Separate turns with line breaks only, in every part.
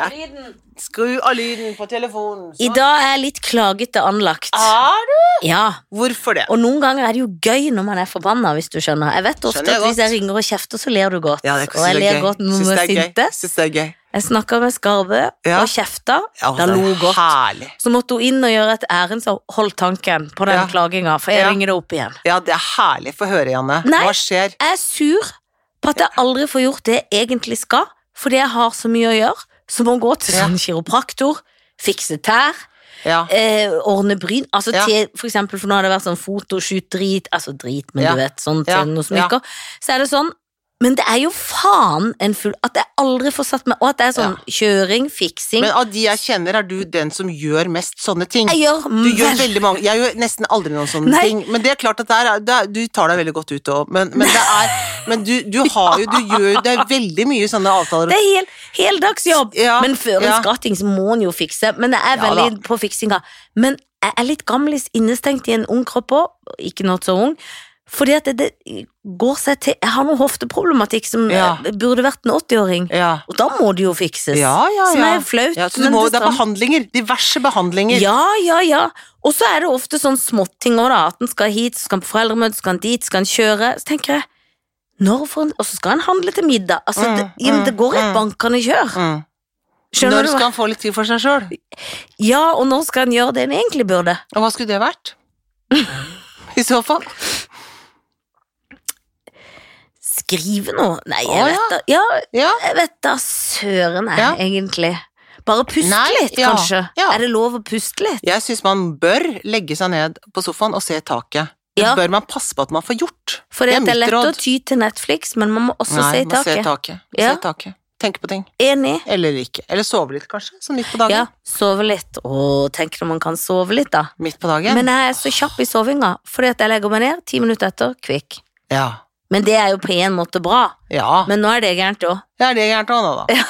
av lyden. Skru av lyden på telefonen.
I
sånn.
dag er jeg litt klagete anlagt.
Er du?
Ja.
Hvorfor det?
Og noen ganger er det jo gøy når man er forbanna, hvis du skjønner. Jeg vet ofte
Skjønner jeg
at hvis
godt.
jeg ringer og kjefter, så ler du godt.
Ja, det er
og jeg
så
ler
gøy.
godt når
Syns
vi
det
er
er gøy.
sintes.
Syns det er gøy.
Jeg snakka med Skarve
Ja.
og kjefta.
Ja,
da
det er
lo godt.
Herlig.
Så måtte hun inn og gjøre et ærend, så hold tanken på den
Ja.
klaginga, for jeg
Ja.
ringer det opp igjen.
Ja, det er herlig. Få høre, Janne.
Nei.
Hva skjer?
Jeg er sur på at jeg aldri får gjort det jeg egentlig skal, fordi jeg har så mye å gjøre, som å gå til
Ja.
sånn kiropraktor, fikse tær,
Ja.
eh, ordne bryn, altså
Ja.
til for eksempel, for nå har det vært sånn fotoshoot-drit, altså drit, men
Ja.
du vet, sånn til
Ja.
noen smykker, så er det sånn, men det er jo faen en full, at jeg aldri får satt meg, og at det er sånn kjøring, fiksing,
Men av de jeg kjenner, er du den som gjør mest sånne ting.
jeg gjør
Du gjør
vel-
veldig mange Jeg gjør nesten aldri noen sånne
Nei.
ting. Men det er klart at det er, det er, du tar deg veldig godt ut òg, men, men det er Men du, du har jo Du gjør det er veldig mye sånne avtaler.
Det er hel, heldagsjobb.
Ja,
men før en
ja.
skratting så må en jo fikse. Men jeg er
Ja
veldig på fiksinga. Men jeg er litt gamlis innestengt i en ung kropp òg. Ikke noe så ung. Fordi at det, det går seg til Jeg har noe hofteproblematikk som
Ja.
eh, burde vært en 80-åring.
Ja.
Og da må det jo fikses.
Ja, ja,
Som
ja.
er flaut.
Ja, så du
men
må,
det
det er
skal-
behandlinger. Diverse behandlinger.
ja, ja, ja. Og så er det ofte sånn småtting òg, da. At en skal hit, så skal en på foreldremøte, så skal en dit, så skal en kjøre. Så tenker jeg når får en, Og så skal en handle til middag. Altså,
Mm,
det, ja, men det
mm,
går
mm.
et bankende kjør.
Mm.
Skjønner
Når
du hva-
skal han få litt tid for seg sjøl?
Ja, og når skal en gjøre det en egentlig burde?
Og hva skulle det vært? I så fall.
Skrive noe? Nei, jeg
Å,
vet da Ja,
Ja.
jeg vet da søren, jeg,
Ja.
egentlig. Bare puste
Nei,
litt,
ja,
kanskje.
ja.
Er det lov å puste litt?
Jeg syns man bør legge seg ned på sofaen og se taket. Det
Ja.
bør man passe på at man får gjort.
For
Det
det
er
er,
mitt
lett
råd.
å ty til Netflix, men man må også
Nei,
se i
man
taket.
ser taket. Man
Ja.
ser taket. Tenke på ting.
Enig.
Eller ikke. Eller sove litt, kanskje. Sånn midt på dagen.
Ja, sove litt. Å, tenk når man kan sove litt, da.
Midt på dagen.
Men jeg er så kjapp i sovinga, fordi at jeg legger meg ned, ti minutter etter, kvikk.
Ja.
Men det er jo på en måte bra.
Ja.
Men nå er det gærent òg.
Ja, det er gærent òg nå, da. Ja.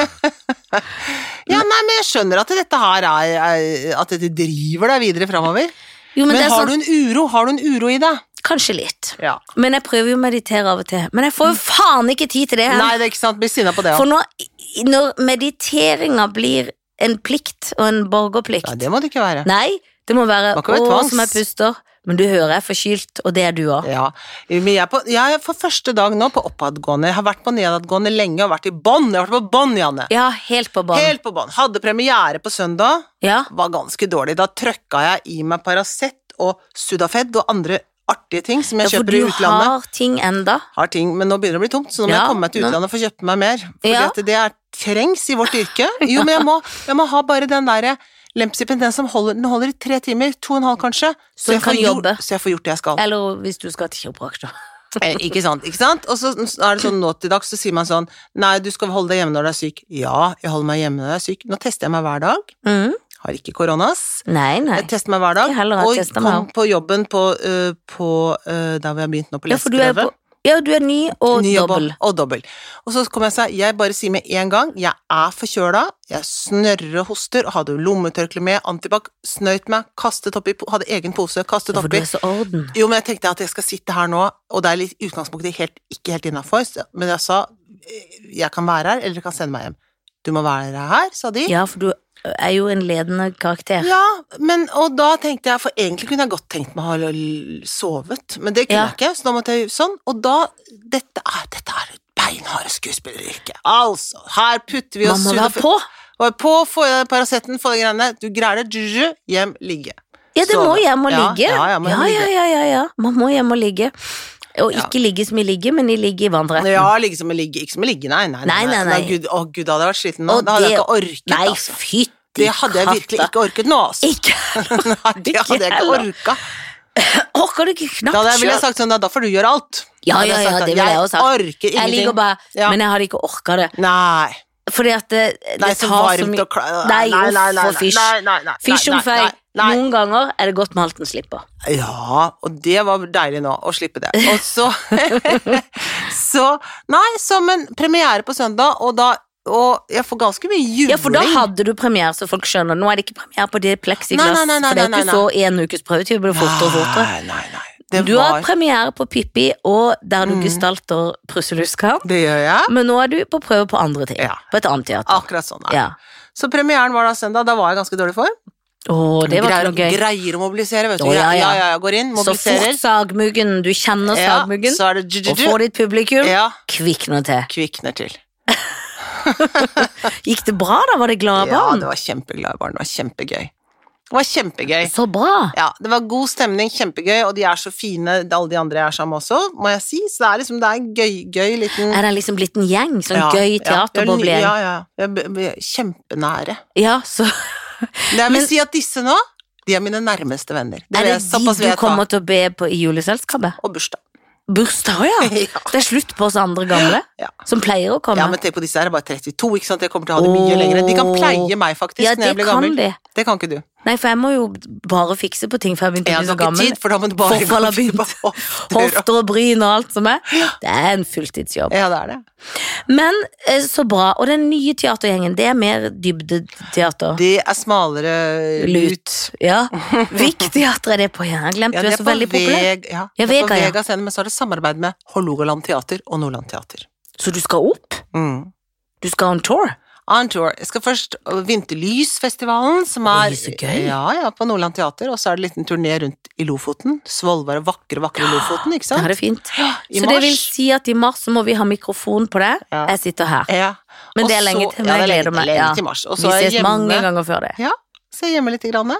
nei, men jeg skjønner at dette her er, er At dette driver deg videre framover.
Jo, men,
Men,
det er
har
sånn,
du en uro? Har du en uro i deg?
kanskje litt.
Ja.
Men jeg prøver jo å meditere av og til. Men jeg får jo faen ikke tid til det.
Mm.
her.
Nei, det er ikke sant. Blir sinna på det
For
òg.
når, når mediteringa blir en plikt og en borgerplikt
Ja, det må det ikke være.
Nei, det må være
Man kan
å
være tvangs.
som jeg puster, men du hører jeg er forkylt, og det er du òg.
Ja, men jeg er, på, jeg er for første dag nå på oppadgående. Jeg har vært på nedadgående lenge og vært i bånn. Jeg har vært på bånn, Janne.
Ja, helt på banen.
Helt på bånn. Hadde premiere på søndag.
Ja.
Var ganske dårlig. Da trøkka jeg i meg Paracet og Sudafed og andre artige ting som
Ja,
jeg
for
kjøper i
du
utlandet.
har ting enda.
Har ting, men nå begynner det å bli tomt, så nå må
Ja,
jeg komme meg til
nå-
utlandet og få kjøpe meg mer. For
Ja.
det er trengs i vårt yrke. Jo, men jeg må, jeg må ha bare den derre Lempsipen, den som holder, den holder i tre timer, to og en halv kanskje,
Så du
jeg, får
kan
gjort,
jobbe.
så jeg får gjort det jeg skal.
Eller hvis du skal til kiropraktor.
Eh, Ikke sant, ikke sant? Og så er det sånn nå til dags, så sier man sånn Nei, du skal holde deg hjemme når du er syk. Ja, jeg holder meg hjemme når jeg er syk. Nå tester jeg meg hver dag.
Mm.
Har ikke koronas.
Nei, nei.
Jeg tester meg hver dag.
Jeg heller har
og
testet meg
kom på jobben på, eh, på eh, der hvor jeg har begynt nå, på
Ja, for du er,
leseprøve.
på, ja, du er ny og
Ny jobb
dobbel.
Og dobbel. Og så kom jeg og sa jeg bare sier med en gang jeg er forkjøla, jeg snørrer og hoster, og hadde jo lommetørkle med, antibac, snøyt meg, kastet oppi, po- hadde egen pose, kastet
Ja, For du
oppi.
er så orden.
Jo, men jeg tenkte at jeg skal sitte her nå, og det er litt utgangspunktet helt, ikke helt innafor, men jeg sa eh, jeg kan være her, eller dere kan sende meg hjem. Du må være her, sa de.
Ja, for du er jo en ledende karakter.
Ja, men, og da tenkte jeg, for egentlig kunne jeg godt tenkt meg å ha l- sovet, men det kunne
Ja.
jeg ikke, så da måtte jeg sånn, og da, dette er, dette er et beinharde skuespilleryrke. Altså, her putter vi
Man
oss
må være
Sudafed-
på.
Og på, få i deg Paraceten, få i deg greiene, du greier det, juju, hjem, ligge.
Ja, det
Sove.
må hjem og
Ja,
ligge.
ja, ja, man
ja,
må
ja,
ligge.
ja, ja, ja. Man må hjem og ligge. Og
Ja.
ikke ligge som i ligge, men i ligge i vandreretten.
Ja, ligge som en ligge, liksom ikke som en ligge, nei, nei,
Nei, nei, nei.
Gud, å Gud, da hadde jeg vært sliten nå,
Og
da hadde jeg
det-
ikke orket,
Nei,
altså.
fytti katta.
Det hadde jeg virkelig ikke orket nå, altså.
Ikke.
Nei, det
ikke
hadde jeg ikke
heller.
orket.
Orker du ikke
Da
knapt
hadde jeg, ville jeg
sjøl?
sagt sånn, "Ja, da får du gjøre alt.
Ja,
Da hadde
ja,
sagt
ja,
at
det ville jeg også sagt.
Jeg orker
Jeg ligger
ingenting.
bare
Ja.
Men jeg hadde ikke orka det.
Nei.
Fordi at det, det
Nei, så
tar så
varmt
mye
og kla-
Nei,
Nei, nei,
uff
nei,
og fysj.
nei, nei, nei, nei,
Fysj om
nei,
feil.
nei, nei.
Noen ganger er det godt med halten slipper.
Ja, og det var deilig nå, å slippe det. Og så Så Nei, som en premiere på søndag, og da Og jeg får ganske mye jubling.
Ja, for da hadde du premiere, så folk skjønner. Nå er det ikke premiere på det pleksiglass,
Nei, nei, nei, nei,
for det er jo
nei,
ikke så en ukes prøvetid, det blir fortere og fortere.
Nei, nei, nei. Det
Du har
var
hatt premiere på Pippi, og der du
Mm.
gestalter Prusseluska.
Det gjør jeg.
Men nå er du på prøve på andre ting.
Ja.
På et annet teater.
Akkurat sånn. Ja.
Ja.
Så premieren var da søndag. Da var jeg ganske dårlig for.
Å, det var
greier,
ikke noe gøy.
greier å mobilisere, vet du.
Å, ja, ja.
ja, ja, ja. Går inn,
Så fort
mobiliserer.
sagmuggen, du kjenner
Ja,
sagmuggen,
så er det
og får
ju-ju-ju.
ditt publikum,
Ja,
kvikner til.
kvikner til.
Gikk det bra, da? Var det glade
Ja,
barn?
det var kjempeglade barn. Det var kjempegøy. Det var kjempegøy.
Så bra!
Ja, det var god stemning, kjempegøy, og de er så fine, alle de andre jeg er sammen med også, må jeg si. Så det er liksom, det er en gøy, gøy liten
Er det liksom blitt en gjeng? Sånn
Ja,
gøy
ja.
teaterboble?
Ja,
Ja,
ja. ja. Vi er- vi er Kjempenære.
så
Men jeg vil
Men-
si at disse nå, de er mine nærmeste venner. Det vil
er det
jeg
de
såpass
du
vedta.
kommer til å be på i juleselskapet?
Og bursdag.
Bursdag, ja!
Ja.
Det er slutt på oss andre gamle,
Ja.
som pleier å komme.
Ja, men tenk på disse her er bare 32, ikke sant? Jeg kommer til å ha det mye
Åh.
lenger. De kan pleie meg faktisk
Ja,
når jeg
det
blir
kan
gammel.
de.
Det kan ikke du.
Nei, for jeg må jo bare fikse på ting før jeg begynte
Jeg
å
har
bli så
ikke
gammel.
tid, for da må du bare
Forfall har
gå
begynt.
på hofter og-
Hofter og bryn og alt som er. Det er en fulltidsjobb.
Ja, det er det.
Men eh, så bra. Og den nye teatergjengen, det er mer dybdeteater.
De er smalere
Lut. Ja. Hvilket teater er det på? Ja, jeg har glemt,
Ja,
du
det
er
er
så
på
veldig populær.
Veg, ja.
Ja,
det er på
Vega, ja.
Vega scene, men så er det samarbeid med Hålogaland Teater og Nordland Teater.
Så du skal opp?
Mm.
Du skal on tour?
On tour. Jeg skal først øh, Vinterlysfestivalen, som er
Oi, så gøy.
Ja, ja, på Nordland Teater, og så er det en liten turné rundt i Lofoten. Svolvær og vakre, vakre Lofoten, ikke
Da
sant?
er det fint.
Ja, I
Så det vil si at i mars så må vi ha mikrofon på det.
Ja.
Jeg sitter her.
Ja.
Men
Og
det er lenge
så-
til, men
Ja, det er
jeg gleder
lenge,
meg.
lenge
Ja.
til mars. Og
Vi
så er jeg
ses mange
hjemme,
ganger før det.
Ja. så er jeg hjemme litt, grann,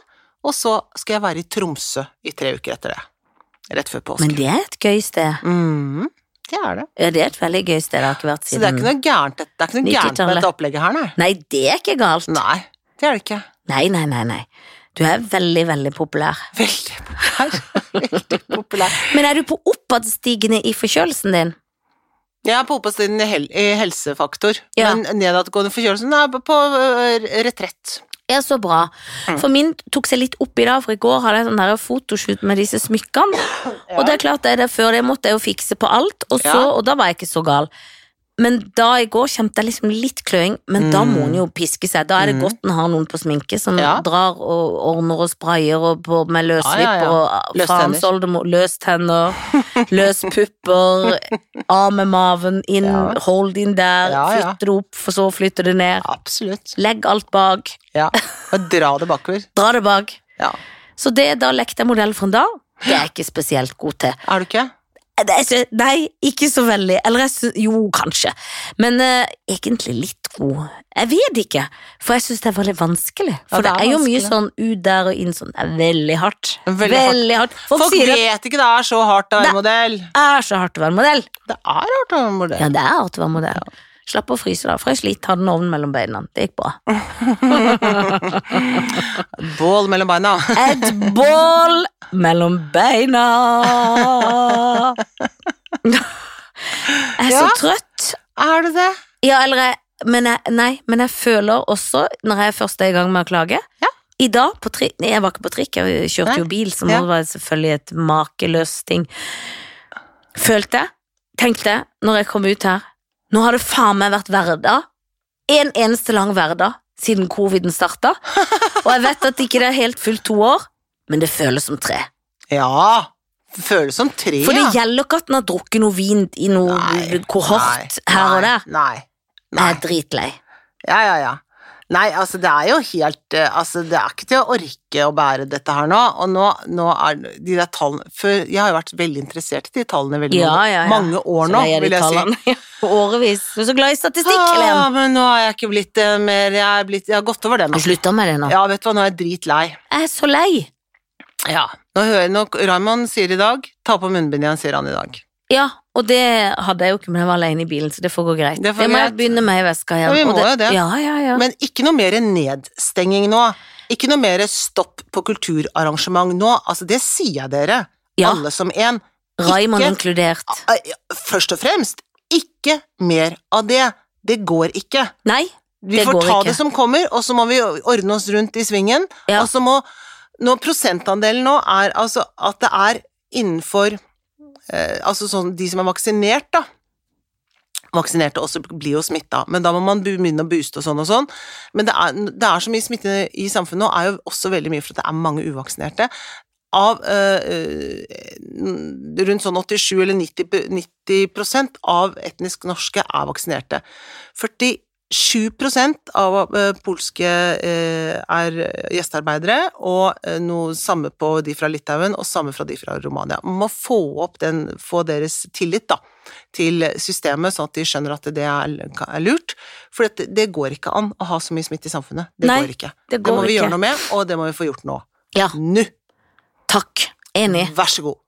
og så skal jeg være i Tromsø i tre uker etter det. Rett før påske.
Men det er et gøy sted.
Mhm, det er det.
Ja, det er et veldig gøy sted. Det har ikke vært
Så det er
siden.
ikke noe gærent, det er ikke noe gærent med
90-tallet.
dette opplegget her, nei.
Nei, det er ikke galt.
Nei, det er det ikke.
Nei, nei, nei, nei. Du er veldig, veldig populær.
Veldig populær. Veldig populær.
Men er du på oppadstigende i forkjølelsen din?
Jeg er på oppåstiden i, hel i helsefaktor,
Ja.
men nedadgående forkjølelsen er på- på ø, retrett.
Ja, så bra.
Mm.
For min tok seg litt opp i dag, for i går hadde jeg sånn der fotoshoot med disse smykkene.
Ja.
Og det er klart, det er det før det måtte jeg jo fikse på alt, og, så,
Ja.
og da var jeg ikke så gal. Men da i går kjente jeg liksom litt kløing, men da må
Mm.
en jo piske seg. Da er det
Mm.
godt en har noen på sminke som
Ja.
drar og ordner og sprayer og på med
Ja, ja,
løslipper
ja.
og ah,
Løstenner.
faens oldemor Løstenner, løspupper, av med maven, inn,
Ja.
hold inn der,
Ja, ja.
flytte det opp, for så flytte det ned.
Absolutt.
Legg alt bak,
Ja. Og dra det bakover.
dra det bak.
Ja.
Så det da lekte jeg modell for en dag. Det er jeg ikke spesielt god til. Eh,
Er du ikke?
Det er ikke, nei, ikke så veldig. Eller jeg syns Jo, kanskje. Men eh, egentlig litt god. Jeg vet ikke, for jeg syns det er veldig vanskelig. For
Ja,
det,
det er
er jo mye
vanskelig.
sånn ut der og inn sånn. Det er veldig hardt.
Veldig
Veldig, hardt. Folk,
Folk
sier det
vet ikke det er så hardt å
Nei.
være modell.
er så hardt å være modell.
Det er hardt å være
Ja,
modell.
det er hardt å være modell. Slapp å fryse, da. Frøs litt, hadde en ovn mellom beina. Det gikk bra.
Bål mellom beina.
Et bål mellom beina. Jeg er så
Ja.
trøtt.
Er du det?
Ja, eller jeg, men jeg, Nei, men jeg føler også, når jeg først er i gang med å klage
Ja.
I dag, på tri nei, jeg var ikke på trikk, jeg kjørte
Nei.
jo bil, som
Ja.
var selvfølgelig et makeløst ting. Følte jeg, tenkte jeg, når jeg kom ut her Nå har det faen meg vært hverdag. En eneste lang hverdag siden coviden starta. Og jeg vet at ikke det er helt fullt to år, men det føles som tre.
Ja. Føles som tre,
For
ja.
det gjelder ikke at en har drukket noe vin i noe
Nei,
kohort
nei,
her
nei,
og der.
Nei. nei.
Jeg er dritlei.
Ja, ja, ja. Nei, altså det er jo helt eh, Altså det er ikke til å orke å bære dette her nå, og nå, nå er de der tallene For jeg har jo vært veldig interessert i de tallene veldig
Ja,
mange-
ja, ja.
mange år nå, vil jeg si. Ah.
si. Årevis. Du er så glad i statistikk,
Ja,
Helen.
men nå har jeg ikke blitt det mer Jeg, er blitt, jeg har gått over det nå.
Jeg slutter med det nå.
Ja, vet du hva, nå er jeg dritlei.
Jeg er så lei.
Ja. Nå hører jeg nok Raymond sier i dag Ta på munnbind igjen, sier han i dag.
Ja, og det hadde jeg jo ikke, men jeg var alene i bilen, så det får gå greit.
Det
Det,
får
må
greit.
jeg begynne med i veska igjen.
Ja, vi
og
må jo det.
Ja, ja, ja.
Men ikke noe mer nedstenging nå. Ikke noe mer stopp på kulturarrangement nå. Altså, det sier jeg dere,
ja.
alle som en.
Raymond
ikke-
inkludert.
Eh, Først og fremst, ikke mer av det. Det går ikke.
Nei,
Vi
Det
får
går
ta
ikke.
det som kommer, og så må vi ordne oss rundt i svingen.
Ja.
Og så må Når prosentandelen nå er altså at det er innenfor eh, Altså sånn de som er vaksinert, da. Vaksinerte også blir jo smitta, men da må man begynne å booste og sånn og sånn. Men det er, det er så mye smitte i samfunnet nå, er jo også veldig mye for at det er mange uvaksinerte. av eh, eh, Rundt sånn 87 eller 90, p- 90 prosent av etnisk norske er vaksinerte. 47 prosent av eh, polske eh, er gjestearbeidere, og eh, noe samme på de fra Litauen og samme fra de fra Romania. Man må få opp den, få deres tillit da, til systemet, sånn at de skjønner at det er, er lurt. For det, det går ikke an å ha så mye smitte i samfunnet. Det
Nei,
går ikke.
det
Det må
går
vi
ikke.
gjøre noe med, og det må vi få gjort nå.
Ja,
Nå!
takk. Enig.
Vær så god.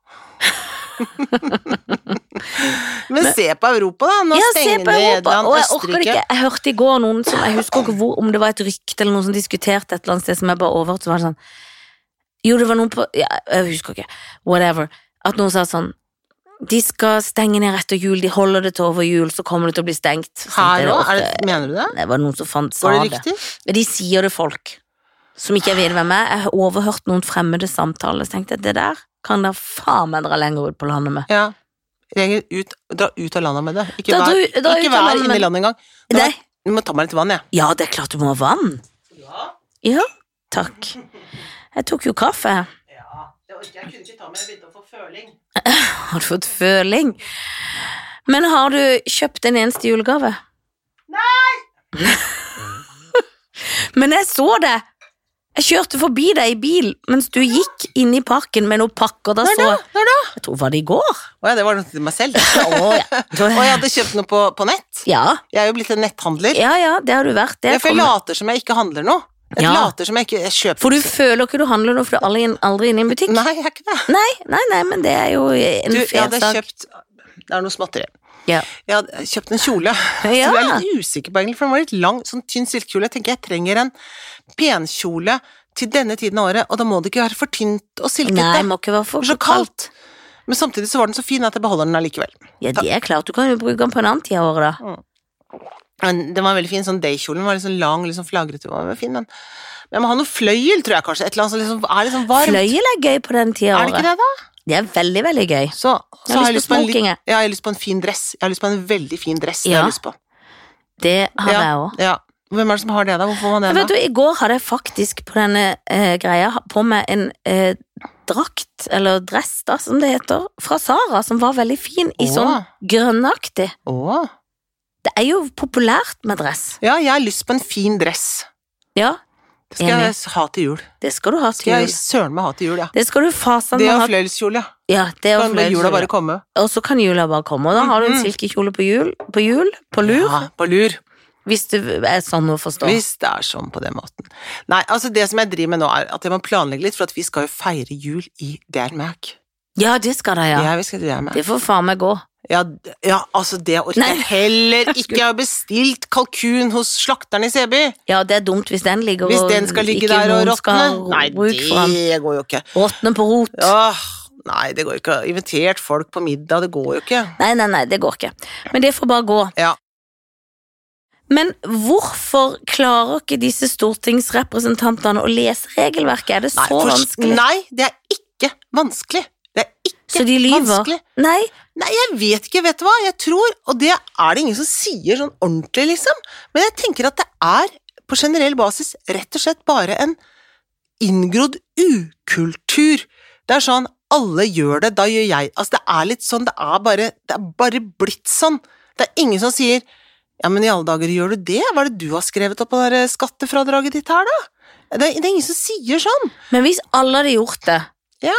Men, se på Europa, da. Nå
Ja, se
stenger
på
ned
Europa.
Nederland,
Og jeg orker det
Østerrike.
ikke. Jeg hørte i går noen som Jeg husker ikke hvor, om det var et rykte eller noen som diskuterte et eller annet sted som jeg bare overhørte, som var det sånn Jo, det var noen på ja, Jeg husker ikke. Whatever. At noen sa sånn De skal stenge ned etter jul, de holder det til over jul, så kommer det til å bli stengt. Så tenkte
Her
jeg,
òg?
ofte-
Mener du det?
Det var noen som fant, sa
Var det
det.
riktig?
De sier det folk som ikke jeg vet hvem er. Jeg har overhørt noen fremmede samtaler, så tenkte jeg det der kan da faen meg dra lenger ut på landet med.
Ja. Regel ut, dra ut av landet med det. Ikke
Da-
vær,
dra- dra ut
ikke
av
vær
landet
inne
med-
i landet engang. Nå-
Nei.
Du må ta meg litt vann, jeg.
Ja, det er klart du må ha vann.
Ja.
Ja, takk. Jeg tok jo kaffe.
Det orker jeg. kunne ikke ta meg, jeg begynte å få føling.
Har du fått føling? Men har du kjøpt en eneste julegave? Nei! Men jeg så det. Jeg kjørte forbi deg i bil mens du gikk inn i parken med noen pakker. Da
Når
så
da?
jeg
Når da?
Jeg tror var det i går.
Å ja, det var noe til meg selv.
Å, ja.
Og jeg hadde kjøpt noe på, på nett.
ja.
Jeg er jo blitt en netthandler.
Ja, ja, det har du vært. Det
Ja, for jeg
kommer.
later som jeg ikke handler noe. Jeg
Ja.
later som jeg ikke jeg kjøper
For du føler ikke du handler nå, for du er aldri, aldri inne i en butikk.
Nei, jeg er ikke det.
Nei, nei, nei, men det er jo en
Du, jeg
fet
hadde
sak.
kjøpt Det er noe småtteri.
Ja.
Jeg hadde kjøpt en kjole,
Ja.
som jeg er litt usikker på egentlig, for den var litt lang, sånn tynn silkekjole. Jeg tenker jeg trenger en penkjole til denne tiden av året, og da må det ikke være for tynt og
Nei,
silkete.
må ikke være for
Det er så kaldt. Men samtidig så var den så fin at jeg beholder den allikevel.
Ja, det er klart. Du kan jo bruke den på en annen tid av året, da.
Men den var veldig fin, sånn daykjolen var litt sånn lang, litt sånn flagrete, den var fin, den. Men jeg må ha noe fløyel, tror jeg kanskje, et eller annet som liksom er litt sånn varmt.
Fløyel er gøy på den tida
Er
av
det ikke
året.
det, da?
Det er veldig, veldig gøy.
Så, så har jeg lyst på, en,
smoking,
litt-
jeg.
ja, jeg har lyst på en fin dress. Jeg har lyst på en veldig fin dress. Det
Ja.
har jeg lyst på.
Det har
Ja.
jeg òg.
Ja. Hvem er det som har det, da? Hvorfor får man det?
Vet
da?
du, I går hadde jeg faktisk på denne eh, greia ha- på meg en eh, drakt, eller dress, da, som det heter, fra Sara, som var veldig fin i
Åh.
sånn grønnaktig.
Åh.
Det er jo populært med dress.
Ja, jeg har lyst på en fin dress.
Ja,
Det skal
Enig.
jeg ha til jul.
det skal du ha
Skal
til
jeg
jul.
søren meg ha til jul, ja.
Det skal du fasen
Det
meg
og
ha.
fløyelskjole, ja.
Ja, det og
Kan la jula
fløyelskjole.
bare komme.
Og så kan jula bare komme. Og da har du en
Mhm.
silkekjole på jul, på, jul, på lur,
Ja, på lur.
hvis det er sånn å forstå.
Hvis det er sånn på den måten. Nei, altså det som jeg driver med nå, er at jeg må planlegge litt, for at vi skal jo feire jul i Dermac.
Ja, det skal det,
Ja.
ja.
vi skal til Dermac.
Det får faen meg gå.
Ja, d- ja, altså det orker
Nei.
jeg heller ikke. Jeg har bestilt kalkun hos slakteren i Seby.
Ja, det er dumt hvis den ligger
Hvis
og
den skal ligge
ikke
der og
noen skal
råtne.
ha
Nei,
bruk for den.
det går jo ikke.
Råtne på rot.
Åh, nei, det går ikke. Invitert folk på middag, det går jo ikke.
Nei, nei, nei, det går ikke. Men det får bare gå.
Ja.
Men hvorfor klarer ikke disse stortingsrepresentantene å lese regelverket? Er det så
Nei, for-
vanskelig?
Nei, det er ikke vanskelig. Det er ikke
så de lyver?
vanskelig.
Nei.
Nei, jeg vet ikke, vet du hva. Jeg tror, og det er det ingen som sier sånn ordentlig, liksom. Men jeg tenker at det er på generell basis rett og slett bare en inngrodd ukultur. Det er sånn alle gjør det, da gjør jeg Altså, det er litt sånn, det er bare, det er bare blitt sånn. Det er ingen som sier ja, men i alle dager gjør du det? Hva er det du har skrevet opp på det der skattefradraget ditt her, da? Det er, det er ingen som sier sånn.
Men hvis alle hadde gjort det,
Ja,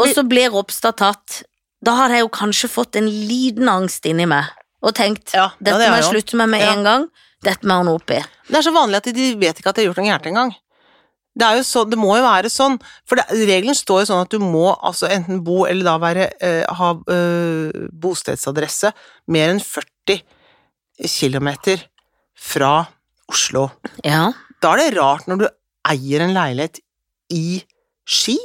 og så ble Ropstad tatt, da hadde jeg jo kanskje fått en liten angst inni meg og tenkt
Ja, det
dette
hadde
må
jeg
jeg
jo.
slutte med med
Ja.
en gang, dette må jeg ordne opp i.
Det er så vanlig at de vet ikke at de har gjort noe gærent engang. Det, er jo så, det må jo være sånn, for det, regelen står jo sånn at du må altså enten bo eller da være, eh, ha eh, bostedsadresse mer enn 40 km fra Oslo.
Ja.
Da er det rart når du eier en leilighet i Ski.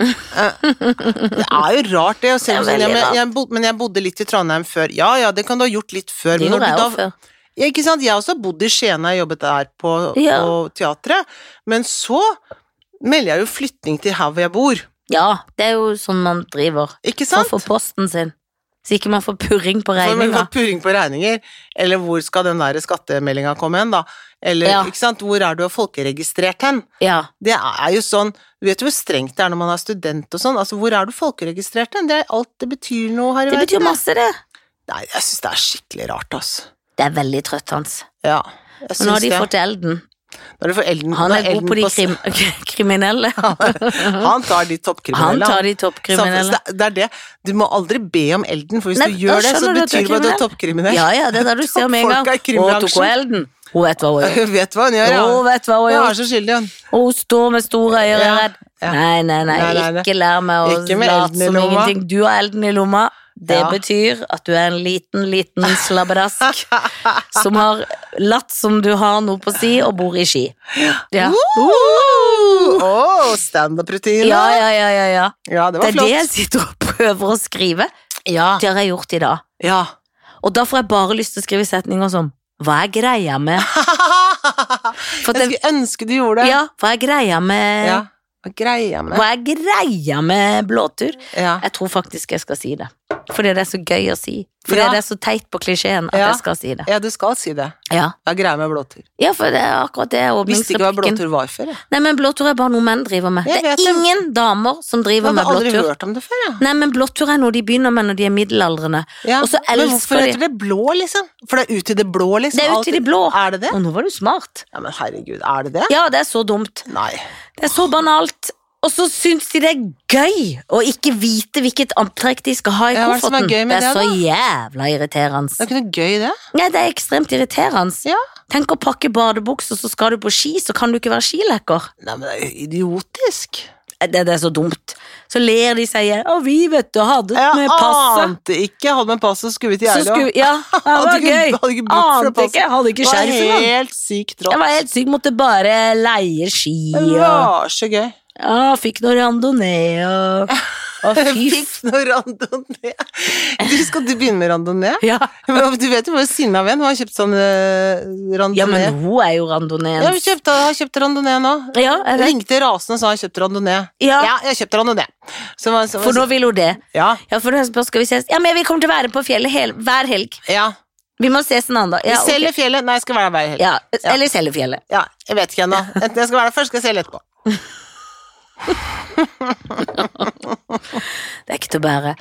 Eh, Det er jo rart, det. og selv om sånn,
Det er
ja,
veldig
men,
rart.
jeg bod, men jeg bodde litt i Trondheim før. Ja ja, det kan du ha gjort litt før.
Det
Men når du
gjorde jeg
da
jo før.
ja, ikke sant? Jeg har også bodd i Skien, jeg jobbet der på,
Ja.
på teatret. Men så melder jeg jo flytting til her hvor jeg bor,
Ja, det er jo sånn man driver.
ikke
Man
sant?
får posten sin. Så ikke man får purring på
For man
regninga.
får purring på regninger, eller hvor skal den der skattemeldinga komme hen, da? Eller,
Ja.
ikke sant, hvor er du folkeregistrert hen?
Ja.
Det er jo sånn, du vet jo hvor strengt det er når man er student og sånn, altså hvor er du folkeregistrert hen? Det er alt det betyr noe her i
Det
verden.
betyr
ja.
masse, det.
Nei, jeg synes det er skikkelig rart, ass.
Det er veldig trøtt, hans.
Ja, jeg
Men
syns
nå har de
det.
fått elden.
Når du får elden,
Han
når
er god
elden
på de
s-
krim kriminelle.
Han tar de
Han
toppkriminelle.
tar de
Samtidig-
toppkriminelle.
Det er det. Du må aldri be om elden, for hvis
Nei,
du
da
gjør det, så
skjønner du at du er
betyr det bare at du er toppkriminell.
Ja, ja, det er det du ser med en
Folk er i
gang. Hun tok
krimbransjen.
elden. Hun vet hva hun gjør.
Hun vet hva hun gjør,
Hun
ja.
vet hva hun
Hun
gjør.
er så skyldig, hun.
Og hun står med store øyne og er
Ja,
redd.
ja.
Nei, nei, nei,
Nei, nei, nei.
ikke lær meg å
Ikke med
late
elden i
som
lomma.
ingenting. Du har elden i lomma. Det
Ja.
betyr at du er en liten, liten slabbedask som har latt som du har noe på si, og bor i Ski. Ja,
Woo! Åh, standup-rutine.
ja, ja, ja. ja, ja.
Ja, det
Det
var
er det jeg
flott.
sitter og prøver å skrive.
Ja.
Det har jeg gjort i dag.
ja.
Og da får jeg bare lyst til å skrive setninger som Hva er greia med
Jeg
For at det,
skulle ønske du gjorde det.
Ja, hva er greia med
Ja. Hva greier med det?
Hva er greia med blåtur?
Ja.
Jeg tror faktisk jeg skal si det. Fordi det er så gøy å si. Fordi
Ja.
det er så teit på klisjeen at
Ja.
jeg skal si det.
ja, du skal si det.
Ja.
Hva er greia med blåtur?
ja, for det er akkurat det
Visste ikke hva
åpningsreplikken.
blåtur var før, jeg.
Nei, men blåtur er bare noe menn driver med.
Jeg
Det
vet
er
det.
ingen damer som
Jeg
driver
hadde
med
aldri
blåtur.
hørt om det før, jeg.
Nei, men blåtur er noe de begynner med når de er middelaldrende.
Ja.
Og så
Men
elsker
hvorfor
de-
heter det blå, liksom? For det er ut i det blå, liksom?
Det er
Alt-
ute i det blå.
Er det det?
Og nå var du smart.
Ja, men herregud, er det det?
Ja, det er så dumt.
Nei.
Det er så banalt. Og så syns de det er gøy å ikke vite hvilket antrekk de skal ha i
Ja, hva er det som er
kofferten.
gøy med
er
det,
så jævla irriterende.
Det er ikke noe gøy, det.
Nei, det er ekstremt irriterende.
Ja.
Tenk å pakke badebukser, så skal du på ski, så kan du ikke være skilekker. Eh,
Nei, men det er idiotisk.
Det, det er så dumt. Så ler de seg i hjel. Å, vi, vet du, hadde det
Jeg
med passet.
ante ikke. Hadde med passet, skulle vi til
ah. Så
Geilo.
skulle Ja, det
Hadde
var
ikke-
gøy.
hadde ikke bruk for det
Ante
passet.
ikke, jeg hadde ikke
Det var
skjerf engang.
helt sykt rått.
Jeg var helt syk, måtte bare leie ski
Det
og
var så gøy.
ja, fikk noe randonee og Å, fy
Fikk noe randonee. Du, skal du begynne med randonee?
Ja.
Men Du vet jo hvor sinna venn har kjøpt sånn eh, randonee.
ja, men hun er jo randoneen.
Jeg har kjøpt, jeg har kjøpt randonee nå.
Ja, jeg vet.
Ringte rasende og sa jeg har kjøpt randonee.
Ja.
jeg har kjøpt randonee. Så var- så-
For nå vil hun det.
Ja.
Ja, for nå spør- skal vi ses. Ja, men vi kommer til å være på fjellet hel, hver helg.
ja.
Vi må ses en annen dag.
Vi
Ja, ok.
selger fjellet. Nei, jeg skal være der hver helg.
ja, eller Seljefjellet.
Ja, jeg vet ikke ennå. Enten jeg skal være der først, skal jeg selge etterpå.
Det er ikke til å bære.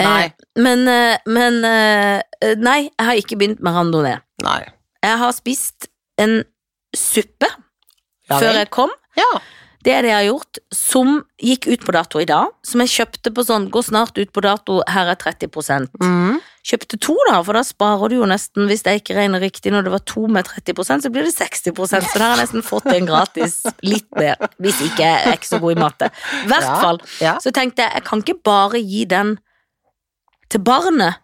Eh,
Nei.
men eh, men eh, nei, jeg har ikke begynt med randonee.
Nei.
Jeg har spist en suppe
Ja
før
vel.
jeg kom.
Ja.
Det er det jeg har gjort, som gikk ut på dato i dag. Som jeg kjøpte på sånn 'går snart ut på dato, her er 30
Mhm.
Kjøpte to, da, for da sparer du jo nesten, hvis jeg ikke regner riktig, når det var to med 30 så blir det 60 Så der har jeg nesten fått en gratis. Litt mer, hvis ikke jeg er ikke så god i matte. I hvert
Ja,
fall.
ja.
Så tenkte jeg, jeg kan ikke bare gi den til barnet.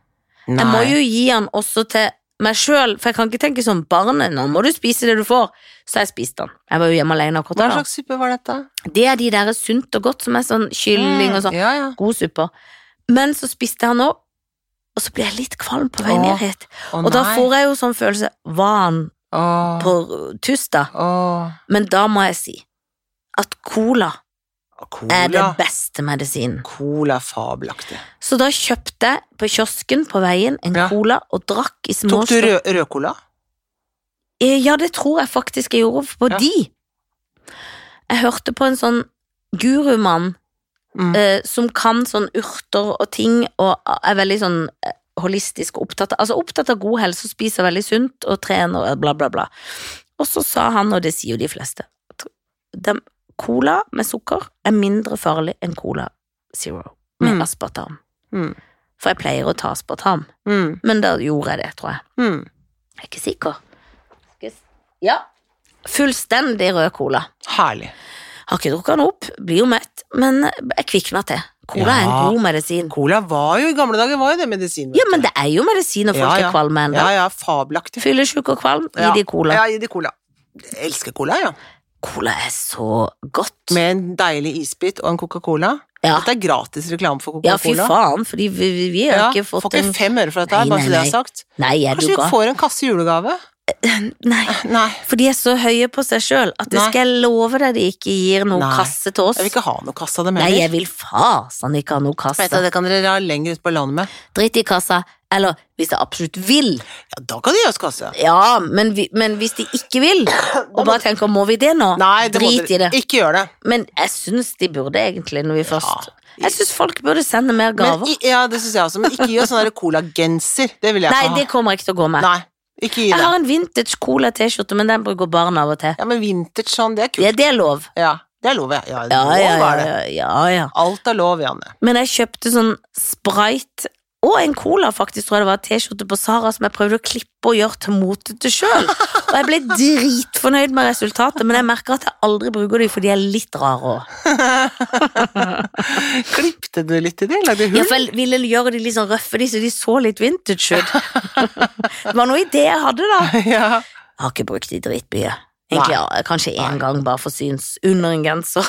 Jeg må jo gi den også til meg sjøl, for jeg kan ikke tenke sånn barnet, nå må du spise det du får. Så jeg spiste den. Jeg var jo hjemme alene akkurat
Hva
da.
slags suppe var dette?
Det er de der sunt og godt, som er sånn kylling og sånn.
Ja, ja.
God supper. Men så spiste jeg den opp, og så ble jeg litt kvalm på vei
Åh.
ned hit.
Å,
Og da
nei.
får jeg jo sånn følelse Var han
Åh,
på tuss, da?
åh.
Men da må jeg si at cola
Cola.
er den beste medisinen.
Cola er fabelaktig.
Så da kjøpte jeg på kiosken på veien en
Ja.
cola og drakk i små
Tok du rød, rødcola?
Eh, Ja, det tror jeg faktisk jeg gjorde på
Ja.
de. Jeg hørte på en sånn gurumann
Mm.
eh, som kan sånn urter og ting, og er veldig sånn eh, holistisk og opptatt av, altså opptatt av god helse, og spiser veldig sunt og trener og bla, bla, bla. Og så sa han, og det sier jo de fleste, at dem- cola med sukker er mindre farlig enn cola zero med
Mm.
aspartam.
Mm.
For jeg pleier å ta aspartam,
Mm.
men da gjorde jeg det, tror jeg.
Mm.
Jeg er ikke sikker. Skal jeg s- Ja. Fullstendig rød cola.
Herlig.
Har ikke drukket den opp, blir jo mett, men jeg kvikner til. Cola er
Ja.
en god medisin.
Cola var jo i gamle dager var jo det medisin. vet
Ja,
du.
men det er jo medisin når folk
Ja, ja.
er kvalme ennå.
ja, ja, fabelaktig.
Fyllesyk og kvalm, gi
Ja.
de cola.
Ja, gi de cola. Jeg elsker cola, ja.
Cola er så godt.
Med en deilig isbit og en Coca-Cola.
Ja.
Dette er gratis reklame for
ja,
Coca-Cola.
fy faen, fordi vi, vi, vi har
Ja,
ikke
Får
fått
ikke
en
fem øre for dette, her,
Nei,
bare
nei,
så det
nei.
er sagt.
Nei, er du
Kanskje vi
gal?
får en kasse i julegave?
Nei,
Nei.
for de er så høye på seg sjøl at det
Nei.
skal jeg love deg de ikke gir noe
Nei.
kasse til oss.
Jeg vil ikke ha noe kassa dem
Nei, jeg
heller.
vil fasen ikke ha noe
Vet du,
kasse.
det kan dere dra lenger ut på landet med.
Drit i kassa. Eller hvis jeg absolutt vil.
Ja, da kan de gi oss kasse.
Ja, men, vi, men hvis de ikke vil, og bare tenker 'må vi det nå',
Nei, det må
drit i
dere
det.
ikke gjøre det.
Men jeg syns de burde egentlig, når vi først
Ja.
Jeg syns folk burde sende mer
Men,
gaver.
i- ja, det syns jeg også, men ikke gi oss sånn der colagenser. Det vil jeg
Nei,
ikke ha.
det kommer jeg ikke til å gå med.
Nei, ikke gi
Jeg
det.
har en vintage cola T-skjorte, men den bruker barn av og til.
Ja, men vintage sånn, det er kult.
Ja, det er lov.
Ja, det er lov, ja. Ja,
Ja, ja,
lov
ja,
er det.
ja, ja, ja.
Alt er lov, Janne.
Men jeg kjøpte sånn Sprite og en cola, faktisk, tror jeg det var, T-skjorte på Sara som jeg prøvde å klippe og gjøre til motete sjøl. Og jeg ble dritfornøyd med resultatet, men jeg merker at jeg aldri bruker dem, for de er litt rare òg.
Klippte du litt i det? Lagde hull?
Ja, for jeg ville gjøre de litt sånn røffe, de, så de så litt vintage ut. Det var noe idé jeg hadde, da.
Ja.
Jeg har ikke brukt de dritmye. Egentlig, ja, kanskje én gang, bare for syns. Under en genser.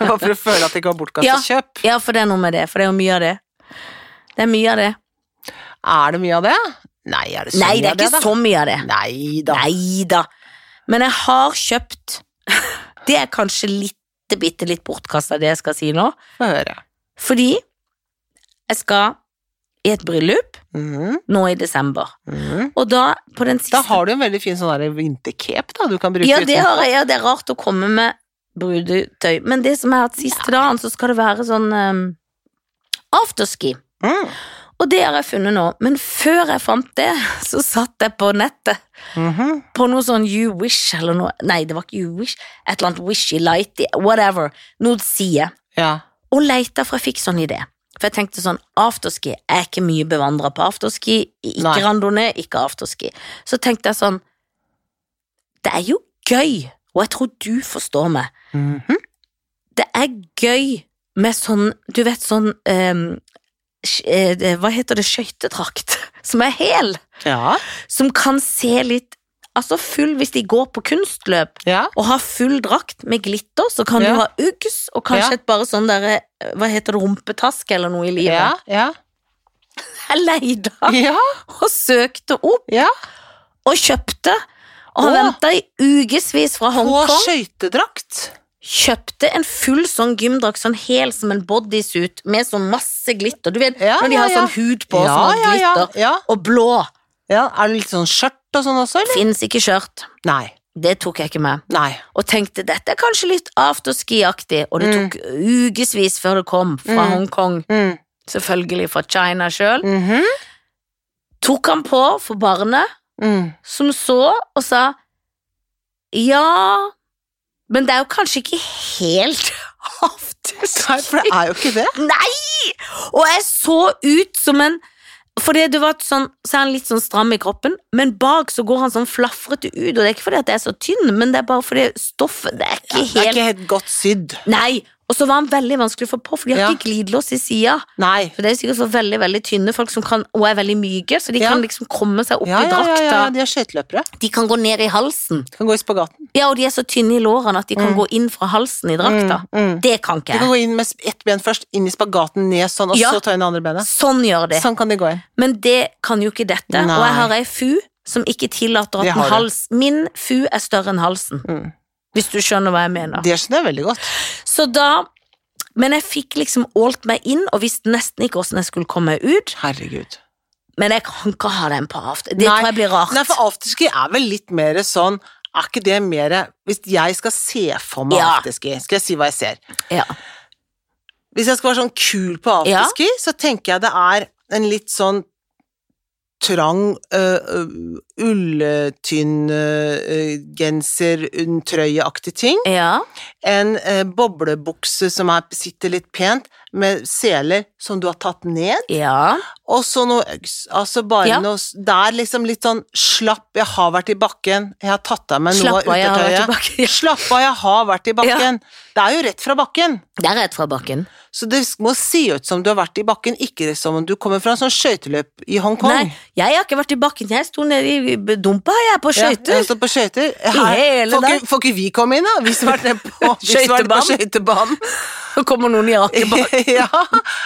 Bare for å føle at det ikke var
Ja.
bortkastet kjøp.
Ja, for det er noe med det, for det er jo mye av det. Det er mye av det.
Er det mye av det? Nei, er det så
Nei,
mye
det er
av det,
ikke
da?
så mye av det.
Nei da.
Nei da. Men jeg har kjøpt Det er kanskje litt, bitte litt bortkasta, det jeg skal si nå.
Få høre.
Fordi jeg skal i et bryllup
Mhm,
nå i desember.
mhm.
Og da, på den siste
Da har du en veldig fin sånn der vintercape da, du kan bruke
Ja, det
utenpå.
har jeg. Ja, det er rart å komme med brudetøy. Men det som er at siste dagen, så skal det være sånn ehm, afterski.
Mm.
Og det har jeg funnet nå. Men før jeg fant det, så satt jeg på nettet
Mhm.
på noe sånn You Wish eller noe Nei, det var ikke You Wish. Et eller annet Wishy Lighty, whatever. Noe sier.
Ja.
Og leita for jeg fikk sånn idé. For jeg tenkte sånn, afterski jeg er ikke mye bevandra på afterski. Ikke
Nei.
randonee, ikke afterski. Så tenkte jeg sånn Det er jo gøy, og jeg tror du forstår meg.
Mhm.
Det er gøy med sånn, du vet sånn ehm, sk- eh, det- Hva heter det, skøytedrakt? Som er hel.
ja.
Som kan se litt Altså full hvis de går på kunstløp
Ja.
og ha full drakt med glitter, så kan
Ja.
du ha uggs og kanskje
Ja.
et bare sånn derre Hva heter det, rumpetaske eller noe i livet.
Ja. Ja.
Jeg leide
Ja.
og søkte opp
ja.
og kjøpte, og har
Å.
venta i ukevis fra
På
Hongkong.
skøytedrakt.
Kjøpte en full sånn gymdrakt, sånn hel som en bodysuit, med sånn masse glitter. Du vet
Ja,
når de
ja,
har
ja.
sånn hud på og
ja,
sånn
ja, ja,
glitter.
ja.
Og blå.
ja. Er det litt sånn skjørt og sånn også, eller?
Fins ikke skjørt.
Nei.
Det tok jeg ikke med.
Nei.
og tenkte dette er kanskje litt afterski-aktig, og det
Mm.
tok ukevis før det kom fra
Mm.
Hongkong,
Mm.
selvfølgelig fra China sjøl.
Mhm.
Tok han på for barnet,
mm.
som så og sa ja, men det er jo kanskje ikke helt
Nei,
afterski.
for det er jo ikke det.
Nei! Og jeg så ut som en fordi det var et sånn, så er han litt sånn stram i kroppen, men bak så går han sånn flafrete ut. Og det er ikke fordi at jeg er så tynn, men det er bare fordi stoffet Det er ikke
Det er
helt
ikke helt godt sydd.
Nei, og så var han veldig vanskelig å få på, for de har
Ja.
ikke glidelås i sida.
Nei.
For det er sikkert for veldig veldig tynne folk som kan, og er veldig myke, så de
Ja.
kan liksom komme seg opp
Ja,
i
ja, ja,
drakta.
ja, de er skøyteløpere.
De kan gå ned i halsen.
De kan gå i spagaten.
Ja, og de er så tynne i lårene at de kan
Mm.
gå inn fra halsen i drakta.
Mm.
Det kan ikke
De kan
jeg.
gå inn med ett ben først, inn i spagaten, ned sånn, og
Ja.
så ta inn det andre benet.
Sånn gjør de.
Sånn kan de gå inn.
Men det kan jo ikke dette.
Nei.
Og jeg har ei fu som ikke tillater
Det
at
har
en
du.
hals Min fu er større enn halsen.
Mm.
Hvis du skjønner hva jeg mener.
Det skjønner jeg veldig godt.
Så da Men jeg fikk liksom ålt meg inn, og visste nesten ikke åssen jeg skulle komme meg ut.
Herregud.
Men jeg kan ikke ha den på aften. Det
Nei.
tror jeg blir rart.
Nei, for afterski er vel litt mer sånn Er ikke det mer Hvis jeg skal se for meg
Ja.
afterski, skal jeg si hva jeg ser.
ja.
Hvis jeg skal være sånn kul på
Ja.
afterski, så tenker jeg det er en litt sånn trang, øh, øh, ulltynn øh, øh, genser, en trøyeaktig ting.
ja.
En øh, boblebukse som er, sitter litt pent, med seler som du har tatt ned.
Ja.
Og så noe øks. Altså bare
Ja.
noe s- Det er liksom litt sånn slapp, jeg har vært i bakken, jeg har tatt av meg noe
Slapp
av
av, jeg har vært
utetøyet.
tilbake.
Slapp av, jeg har vært i bakken. Det er jo rett fra bakken.
Det er rett fra bakken.
Så det må se ut som du har vært i bakken, ikke som om du kommer fra en sånn skøyteløp i Hongkong.
Nei, jeg har ikke vært i bakken. Jeg sto nede i dumpa, jeg, på
Ja,
skøyter.
jeg står på skøyter.
hele
får,
dag.
ikke, får ikke vi komme inn, da? Vi som har vært nede på vi som har vært på skøytebanen.
Så kommer noen i Aker bak.
ja,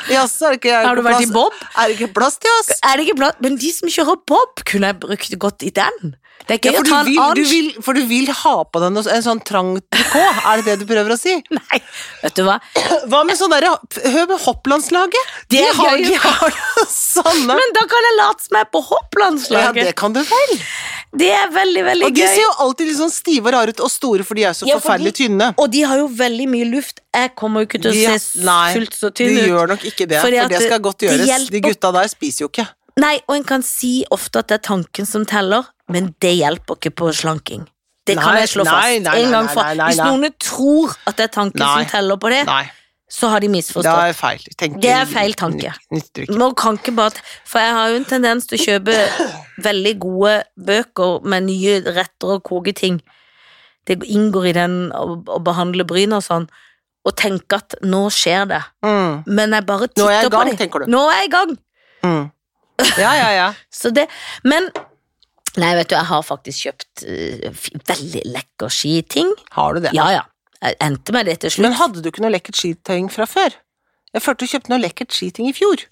jaså, er det ikke er det
Har du
ikke
vært i
plass-
bob?
Er det ikke plass til oss?
Er det ikke blant Men de som kjører bob, kunne jeg brukt godt i den. Det er
Ja,
gøy
for,
å
du
ta en
vil, du
annen
vil, for du vil ha på deg noe, en sånn trang trikot, er det det du prøver å si?
Nei, vet du hva?
Hva med sånn derre Hør med hopplandslaget! De
Det er
har,
gøy.
de har sånne
Men da kan jeg late som jeg er på
Ja,
hopplandslaget.
det kan du vel!
det... er veldig, veldig
Og de
gøy.
ser jo alltid litt sånn stive og rare ut, og store, for de er så
Ja, for de-
forferdelig tynne.
Og de har jo veldig mye luft. Jeg kommer jo ikke til å
De-
se
nei,
fullt så tynn
De
ut.
gjør nok ikke det,
Fordi at
for det skal godt
det
gjøres. De
hjelper-
gutta der spiser jo ikke.
Nei, og en kan si ofte at det er tanken som teller, men det hjelper ikke på slanking. Det kan
Nei,
jeg slå
nei,
fast.
nei, nei,
en gang
nei,
for.
nei, nei,
Hvis
nei.
noen tror at det er tanken
Nei.
som teller på det,
Nei,
så har de
det
misforstått.
er feil. Tenker,
Det er feil tanke.
Nytter ikke.
Man kan ikke bare For jeg har jo en tendens til å kjøpe veldig gode bøker med nye retter og koketing. Det inngår i den å, å behandle bryn og sånn, og tenke at nå skjer det.
Mm,
Men jeg
Nå
bare titter
er jeg i gang,
på det.
tenker du.
Nå er jeg i gang!
mm. Ja, ja, ja.
Så det, men Nei, vet du, jeg har faktisk kjøpt eh, fi- veldig lekker skiting.
Har du det?
Ja, ja. Jeg endte med det til slutt.
Men hadde du ikke noe lekkert skitøying fra før? Jeg følte du kjøpte noe lekkert skiting i fjor.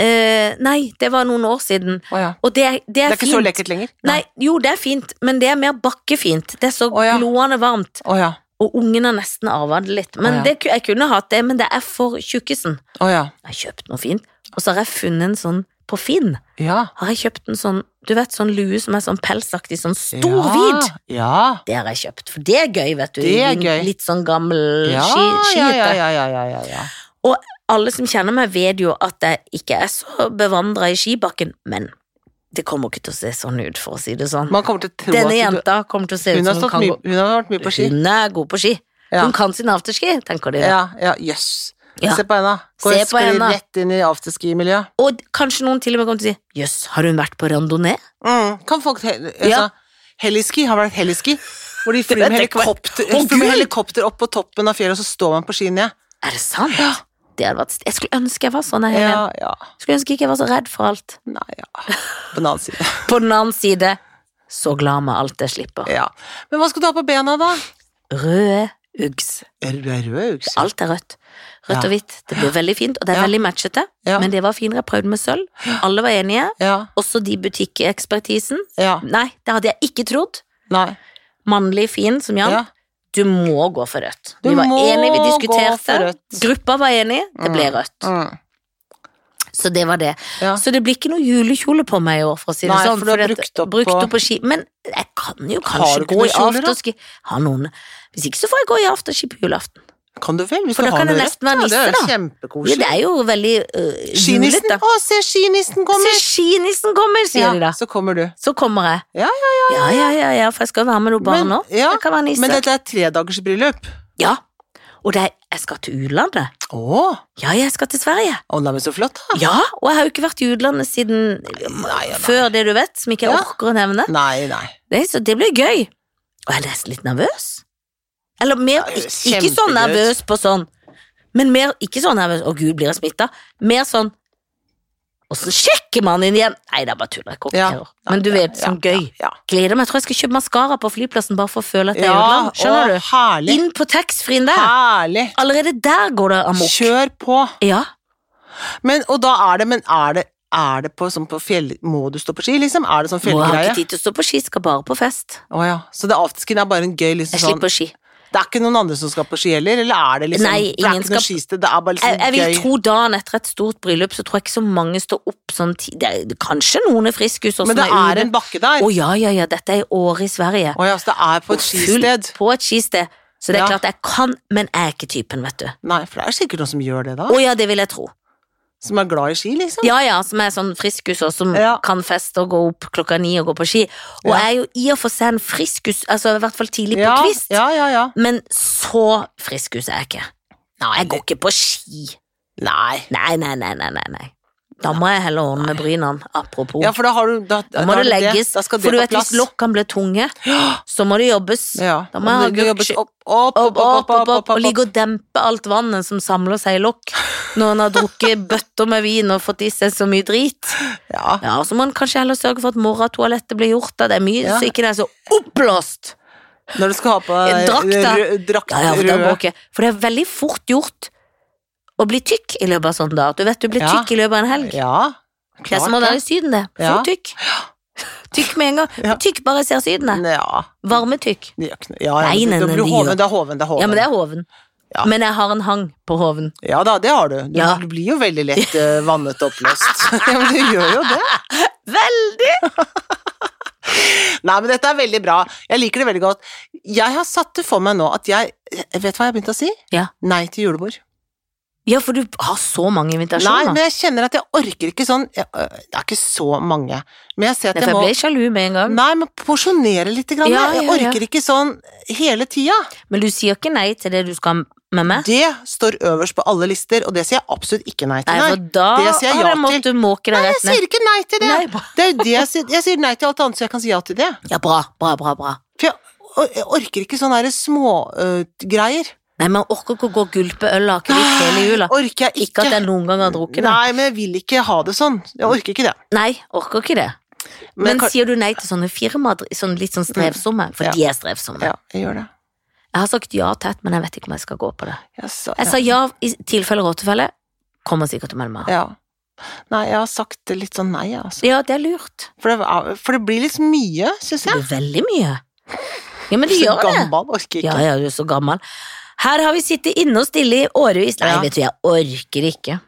Eh, nei, det var noen år siden.
Å ja.
Og det, er- det
Det
er,
er ikke
fint.
så lekkert lenger?
Nei, jo, det er fint, men det er mer bakkefint. Det er så
Å, ja.
gloende varmt,
Å ja.
og ungen har nesten arva det litt. Men
Å, ja.
det, ku- jeg kunne hatt det, men det er for tjukkisen.
Å ja.
Jeg har kjøpt noe fint, og så har jeg funnet en sånn på Finn.
Ja.
Har jeg kjøpt en sånn, du vet, sånn lue som er sånn pelsaktig, sånn stor,
ja.
hvit.
Ja.
Det har jeg kjøpt, for det er gøy, vet du.
Det er
i en
gøy.
Litt sånn gammel
Ja,
ski,
ja,
skihytte.
ja, ja, ja, ja, ja, ja.
Og alle som kjenner meg, vet jo at jeg ikke er så bevandra i skibakken, men det kommer ikke til å se sånn ut, for å si det sånn.
Man kommer til å tro
Denne
at du,
jenta kommer til å se ut
hun, har
som hun
stått
kan
mye,
gå
hun har vært mye på ski.
Hun er god på ski.
Ja.
Hun kan sin afterski, tenker de. da.
Ja, ja, jøss.
Ja.
Se på henne. Går
Se
og
på
sklir
henne.
rett inn i afterski-miljøet.
Og kanskje noen til og med kommer til å si 'jøss, har hun vært på randonee?'
Mm. Kan folk he- altså,
Ja.
Heliski har vært heliski. Hvor de flyr
vet
med
jeg ikke hva-
helikopter,
Å,
flyr med
Gud!
helikopter opp på toppen av fjellet, og så står man på ski ned.
Er det sant? Det hadde vært st- Jeg skulle ønske jeg var sånn. Jeg, Helen.
Ja, ja.
Skulle ønske ikke jeg var så redd for alt.
Nei, ja. På den annen side.
På den annen side, så glad med alt jeg slipper.
Ja. Men hva skal du ha på bena, da?
Røde Uggs.
Er du er rød ukse?
Alt er rødt. Rødt
Ja.
og hvitt. Det blir veldig fint, og det er
Ja.
veldig matchete.
Ja.
Men det var finere. Jeg prøvde med sølv. Alle var enige.
Ja.
Også de butikkekspertisen.
ja.
Nei, det hadde jeg ikke trodd.
Nei.
Mannlig fin som Jan.
Ja.
Du må gå for rødt.
Du
vi var
må
enige, vi
gå for
diskuterte.
rødt.
Gruppa var enig, det ble rødt.
Mm.
Så det var det.
Ja.
Så det blir ikke noe julekjole på meg i år, for å si det
Nei,
sånn.
for du har
fordi at-
brukt opp
brukt
på-
opp på ski. Men jeg kan jo
Har du
kanskje
ikke
gå i
noen kjoler, da?
afterski. Har noen. Hvis ikke så får jeg gå i afterski på julaften.
Kan du vel? Hvis
For
du
da
har
kan det
noe
nesten
rett, ja,
være nisse,
Det er jo
da. Ja,
kjempekoselig.
det er jo veldig uh,
Skinissen?
julete.
Å, se, skinissen
Se,
kommer!
skinissen kommer, sier
Ja,
de da.
så kommer du.
Så kommer jeg.
Ja,
ja, ja. ja, ja, ja, for jeg skal være med noen barn
Men-
nå.
ja,
jeg kan være nisse.
Men dette er tredagersbryllup.
Ja. Og det er, jeg skal til utlandet.
Å,
Ja, jeg skal til Sverige.
å, nei, men så flott, da.
Ja, og jeg har jo ikke vært i utlandet siden
nei, nei.
før det du vet, som ikke jeg
Ja.
orker å nevne.
Nei, nei.
Nei, så det blir gøy. Og jeg er nesten litt nervøs. Eller mer,
Ja, det høres
ikke sånn
kjempegøy ut.
nervøs på sånn, men mer, ikke sånn nervøs, å gud, blir jeg smittet? Mer sånn, og så sjekker man inn igjen. Nei, det er bare tuller, jeg kokkerer.
Ja.
Men du vet,
Ja,
sånn
ja,
gøy.
Ja.
Gleder meg, jeg tror jeg skal kjøpe mascara på flyplassen, bare for å føle at jeg er i
Ja,
utlandet. Skjønner
å,
du?
Herlig.
Inn på tekstfrien der.
Herlig.
Allerede der går det amok.
Kjør på.
Ja.
Men, og da er det, men er det, er det på, sånn på fjell... Må du stå på ski, liksom? Er det sånn
Må jeg har
fjellgreie?
ikke tid til å stå på ski, skal bare på fest.
Å ja. Så det afterskien er bare en gøy liksom
Jeg
sånn
slipper ski.
Det er ikke noen andre som skal på ski heller, eller er det liksom
Nei,
Det er
ingen
ikke noe
skal-
skisted, det er bare liksom
Jeg, jeg vil
gøy.
tro dagen etter et stort bryllup, så tror jeg ikke så mange står opp sånn ti- det er, Kanskje noen er friske hos oss
Men det
som
er
ute.
en bakke der.
Å ja, ja, ja, dette er i året i Sverige.
Å ja, så det er på et skisted.
Fullt På et skisted. Så det er
Ja.
klart jeg kan, men jeg er ikke typen, vet du.
Nei, for det er sikkert noen som gjør det, da.
Å ja, det vil jeg tro.
Som er glad i ski, liksom.
Ja ja, som er sånn friskus og som
Ja.
kan feste og gå opp klokka ni og gå på ski. Og
Ja.
jeg er jo i og for seg en friskus, altså i hvert fall tidlig på
ja,
kvist,
ja, ja, ja.
men så friskus er jeg ikke. Jeg går ikke på ski.
Nei.
Nei, nei, nei, nei, nei, nei. Da må jeg heller ordne med brynene, apropos.
Ja, for da har du Da,
da
da
må
er
det
det
legges,
det. Da skal det
for du
på
vet
plass.
hvis lokkene blir tunge, så må det jobbes.
Ja.
Da må jeg
det- det
ha
jobbes
gurksky-
opp, opp,
Opp, opp, opp, opp, og
opp.
ligge og dempe alt vannet som samler seg i lokk når en har drukket bøtter med vin og fått i seg så mye drit.
Ja.
Ja, Så må en kanskje heller sørge for at morgentoalettet blir gjort, da. Det er mye,
Ja.
så ikke det er så oppblåst.
Når du skal ha på
En
deg
Eh, drakt, da.
rød- drakt
Ja, ja, for, da
rød-
går ikke. for det er veldig fort gjort å bli tykk i løpet av sånn dag. Du vet du blir
Ja.
tykk i løpet av en helg.
Ja.
Det er som å være i Syden, det.
Ja.
Fort tykk. Tykk med en gang.
Ja.
Tykk bare ser sydene.
Ja,
Varmetykk.
det gjør ikke noe. Ja, ja,
sånn- Nei,
men det-
nei, nei,
det blir
det
hoven,
gjør-
det er hoven, det er hoven.
Ja, men det er hoven.
Ja.
Men jeg har en hang på hoven.
Ja da, det har du. Du,
Ja.
du blir jo veldig lett eh, vannet og oppløst. ja, men du gjør jo det.
Veldig!
Nei, men dette er veldig bra. Jeg liker det veldig godt. Jeg har satt det for meg nå at jeg eh, Vet du hva jeg har begynt å si?
Ja.
Nei til julebord.
Ja, for du har så mange
Nei,
invitasjoner.
men jeg kjenner at jeg orker ikke sånn jeg, øh, Det er ikke så mange, men jeg ser at
Derfor
jeg
jeg
må
ble sjalu med en gang.
Nei, men porsjonere litt. Grann,
Ja,
jeg. jeg
ja, ja.
orker ikke sånn hele tida.
Men du sier ikke nei til det du skal med meg?
Det står øverst på alle lister, og det sier jeg absolutt ikke nei
Nei,
til.
for da
det sier jeg ja
hadde jeg
til.
måttet måke deg
Nei, jeg
rett ned.
sier ikke nei til det!
Nei, bra.
Det er jo det jeg sier. Jeg sier nei til alt annet, så jeg kan si ja til det.
Ja, bra, bra, bra, bra.
For jeg, or- jeg orker ikke sånne her øh, smågreier.
Nei, man orker ikke å gå og gulpe øl og akevitt hele jula.
orker jeg
Ikke
ikke.
at jeg noen gang har drukket det.
nei, men jeg vil ikke ha det sånn. Jeg orker ikke det.
Nei, orker ikke det.
Men
Men
kan- Mm.
sier du nei til sånne firmaer, sånn litt sånn strevsomme? For
Ja.
de er strevsomme.
Ja, jeg gjør det.
Jeg har sagt ja tett, men jeg vet ikke om jeg skal gå på det.
Jeg sa,
Jeg sa ja i tilfelle råtefelle. Kommer sikkert til å melde meg.
ja. Nei, jeg har sagt litt sånn nei, jeg, altså.
Ja, det er lurt.
For det, er- for det blir liksom mye, syns
Det
jeg.
blir veldig mye. Ja, men det
Så
gjør det.
Gammel orker ikke.
Ja, ja, du er så gammel. Her har vi sittet inne og stille i årevis. Nei,
Ja.
vet du, jeg orker ikke.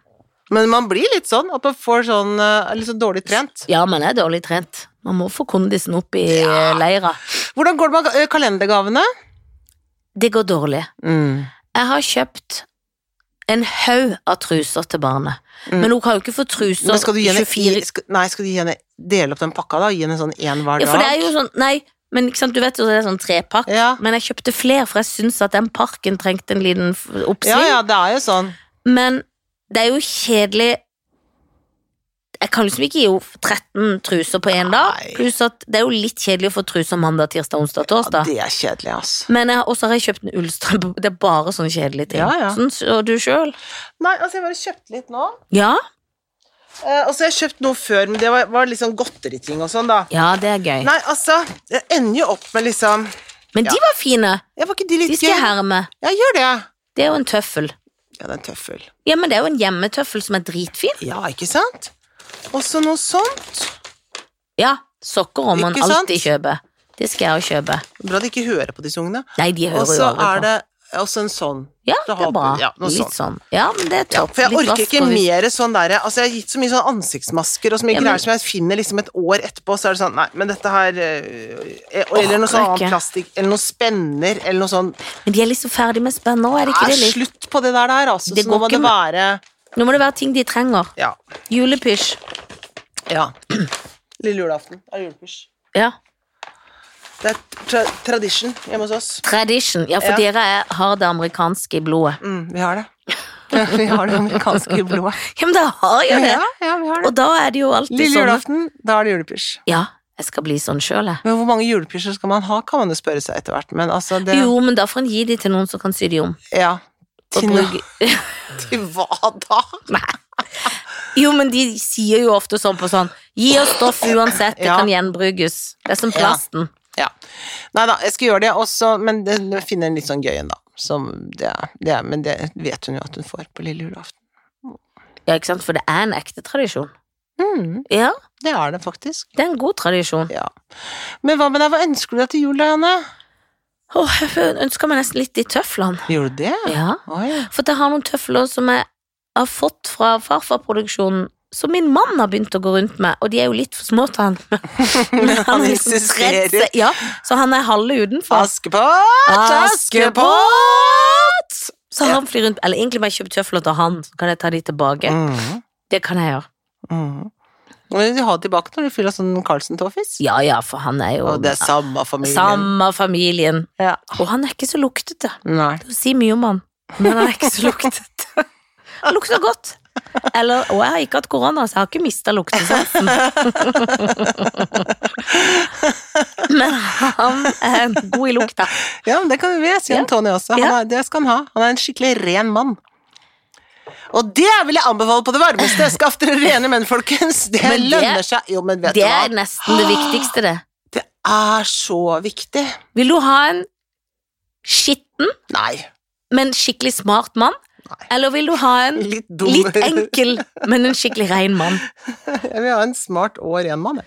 Men man blir litt sånn at man får sånn eh, litt sånn dårlig trent.
Ja, man er dårlig trent. Man må få kondisen opp i eh, leira.
Hvordan går det med eh, kalendergavene?
Det går dårlig.
Mm.
Jeg har kjøpt en haug av truser til barnet.
Mm.
Men hun kan jo ikke få truser
Men skal du gi henne
24
skal, Nei, skal du gi henne dele opp den pakka, da? Gi henne sånn én hver
Ja,
dag?
for det er jo sånn Nei, men ikke sant, du vet jo det er sånn trepakk.
ja.
Men jeg kjøpte flere, for jeg syns at den parken trengte en liten f- oppsving.
ja, ja, det er jo sånn.
Men det er jo kjedelig Jeg kan liksom ikke gi henne 13 truser på én dag.
Nei.
Pluss at det er jo litt kjedelig å få truser mandag, tirsdag, onsdag,
Ja,
torsdag.
det er kjedelig, ass.
Men jeg, også har jeg kjøpt en ullstrømpe. Det er bare sånne kjedelige ting.
Ja, ja.
Sånn, og du sjøl?
Nei, altså, jeg bare kjøpte litt nå.
Ja?
Eh, og så har jeg kjøpt noe før, men det var, var litt sånn godteriting og sånn, da.
ja, det er gøy.
Nei, altså, jeg ender jo opp med liksom
Men de var fine.
Jeg var ikke de litt
De skal jeg herme.
Ja, gjør det.
Det er jo en tøffel.
Ja, det er en tøffel.
Ja, men det er jo en hjemmetøffel som er dritfin.
Ja, ikke sant? Og så noe sånn. sånt.
Ja, sokker må man
Ikke sant?
alltid kjøpe. Det skal jeg jo kjøpe.
Bra de ikke hører på disse ungene.
Nei, de
Og
hører jo
så
aldri
er
på.
det også en sånn.
Ja,
Da
det er
har-
bra.
ja, noe
Litt sånn. Ja, men det er
Ja,
topp.
for jeg
Litt
orker
vask
ikke
og litt-
mer sånn derre Altså, jeg har gitt så mye sånn ansiktsmasker og så mye
Ja, men-
greier som jeg finner liksom et år etterpå, så er det sånn Nei, men dette her eh, Eller noe
Orker
sånn annen
ikke.
plastikk, eller noe spenner, eller noe sånn
Men de er liksom ferdig med spenn nå, er det ikke
er
det? Litt?
slutt på det der, der altså.
Det
så nå
går
må
ikke
det være
Nå må det være ting de trenger.
Ja.
Julepysj.
ja. Lille julaften er julepysj.
Ja.
Det er tra tradition hjemme hos oss.
Tradition. Ja, for
Ja.
dere er, har det amerikanske i blodet.
Mm, vi har det. vi har det amerikanske i blodet.
Ja, men da har jeg det!
Ja, ja, vi har det.
Og da er det jo alltid
Lille
sånn
julaften, da er det julepysj.
Ja, jeg skal bli sånn sjøl, jeg.
Men hvor mange julepysjer skal man ha, kan man jo spørre seg etter hvert. Men altså, det
Jo, men da får en gi de til noen som kan sy de om.
Ja.
Og
Til,
bruke
til hva da?
Jo, men de sier jo ofte sånn på sånn Gi oss stoff uansett, det
Ja.
kan gjenbrukes. Det er som plasten.
Ja. Nei da, jeg skal gjøre det også, men det- jeg finner en litt sånn gøy en, da. Som det er, det er, men det vet hun jo at hun får på lille julaften.
Ja, ikke sant? For det er en ekte tradisjon. Ja,
Mm, Det er det faktisk.
det er en god tradisjon.
Ja. Men hva med deg, hva ønsker du deg til jul, da, Janne?
Åh, jeg ønsker meg nesten litt de tøflene.
Gjorde du det?
Ja.
Oi.
For jeg har noen tøfler som jeg har fått fra farfarproduksjonen, som min mann har begynt å gå rundt med, og de er jo litt for små til han. Men
Han
har liksom
insisterer.
tredd seg- Ja, så han er halve utenfor.
Askepott!
Askepott! Så han flyr rundt, eller egentlig må jeg kjøpe tøfler til han, så kan jeg ta de tilbake.
Mhm,
Det kan jeg gjøre.
mhm. Men Du har det tilbake når du fyller sånn Carlsen-tåfis.
Ja ja, for han er jo
Og det er samme familien.
samme familien.
Ja.
Og han er ikke så luktete.
Nei.
Det sier mye om han, men han er ikke så luktet. Han lukter godt. Eller, og jeg har ikke hatt korona, så jeg har ikke mista luktesansen. Men han er god i lukta.
Ja, men det kan vi si om
Ja.
Tony også. Han
Ja.
er, det skal han ha. Han er en skikkelig ren mann. Og det vil jeg anbefale på det varmeste! Skaff dere rene menn, folkens! Det,
Men det-
lønner seg. Jo, men vet
Det
du
er
hva?
nesten det viktigste, det.
Det er så viktig.
Vil du ha en skitten,
Nei.
men skikkelig smart mann?
Nei.
Eller vil du ha en
Litt dum.
litt enkel, men en skikkelig rein mann?
Jeg vil ha en smart og ren mann. jeg.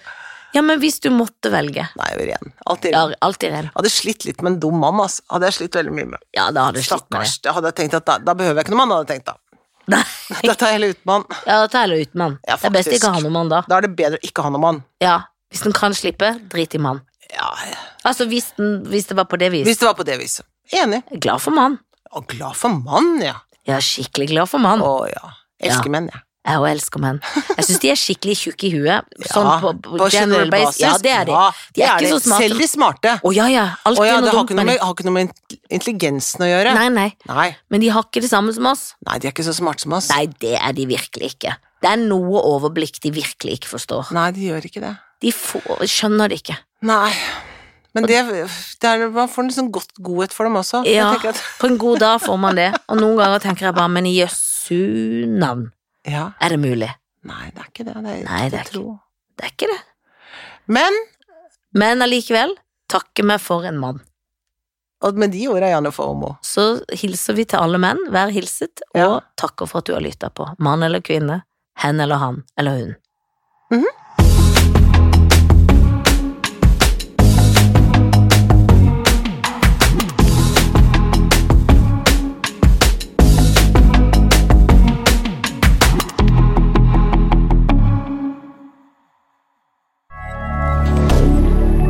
Ja, men hvis du måtte velge
Nei, jeg vil igjen. Alltid
Ja,
igjen.
alltid ren.
Hadde slitt litt med en dum mann, altså. Hadde jeg slitt veldig mye med.
Ja, da hadde du slitt med det.
Stakkars. Da hadde jeg tenkt at da, da behøver jeg ikke noen mann, hadde jeg tenkt da.
Nei,
Dette er hele uten mann.
ja, da tar jeg heller ut mann.
Ja,
det er best
faktisk.
ikke å ha noen mann da.
Da er det bedre å ikke ha noen mann.
Ja, Hvis den kan slippe, drit i mann.
Ja,
Altså hvis, den, hvis det var på det viset.
hvis det var på det viset. Enig.
Jeg er glad for mann.
Og glad for mann, ja.
Jeg er skikkelig glad for mann.
Å ja. Elsker menn, jeg.
Jeg også elsker menn. Jeg syns de er skikkelig tjukke i huet. Sånn
Ja,
på, på general basis. Ja, det er de.
Ja,
De er ikke så smarte.
Selv de smarte.
Å ja, ja.
Å
Alltid
ja, det
noe
har
dumt
ikke noe
med
med,
dem.
har ikke noe med int- intelligensen å gjøre.
Nei, nei.
Nei.
Men de har ikke det samme som oss.
Nei, de er ikke så smarte som oss.
Nei, det er de virkelig ikke. Det er noe overblikk de virkelig ikke forstår.
Nei, de gjør ikke det.
De får, skjønner det ikke.
Nei. Men det, det er, man får en sånn godt godhet for dem også. Jeg
Ja,
tenker at,
på en god dag får man det, og noen ganger tenker jeg bare, men i jøssu navn,
ja.
er det mulig?
Nei, det er ikke det. Det er,
Nei, det er
tro.
Det er ikke det.
Men
Men allikevel, takke meg for en mann.
og med de ordene er jeg nå for homo.
Så hilser vi til alle menn, vær hilset, og
Ja.
takker for at du har lytta på. Mann eller kvinne, hen eller han eller hun.
Mhm.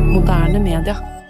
Moderne media.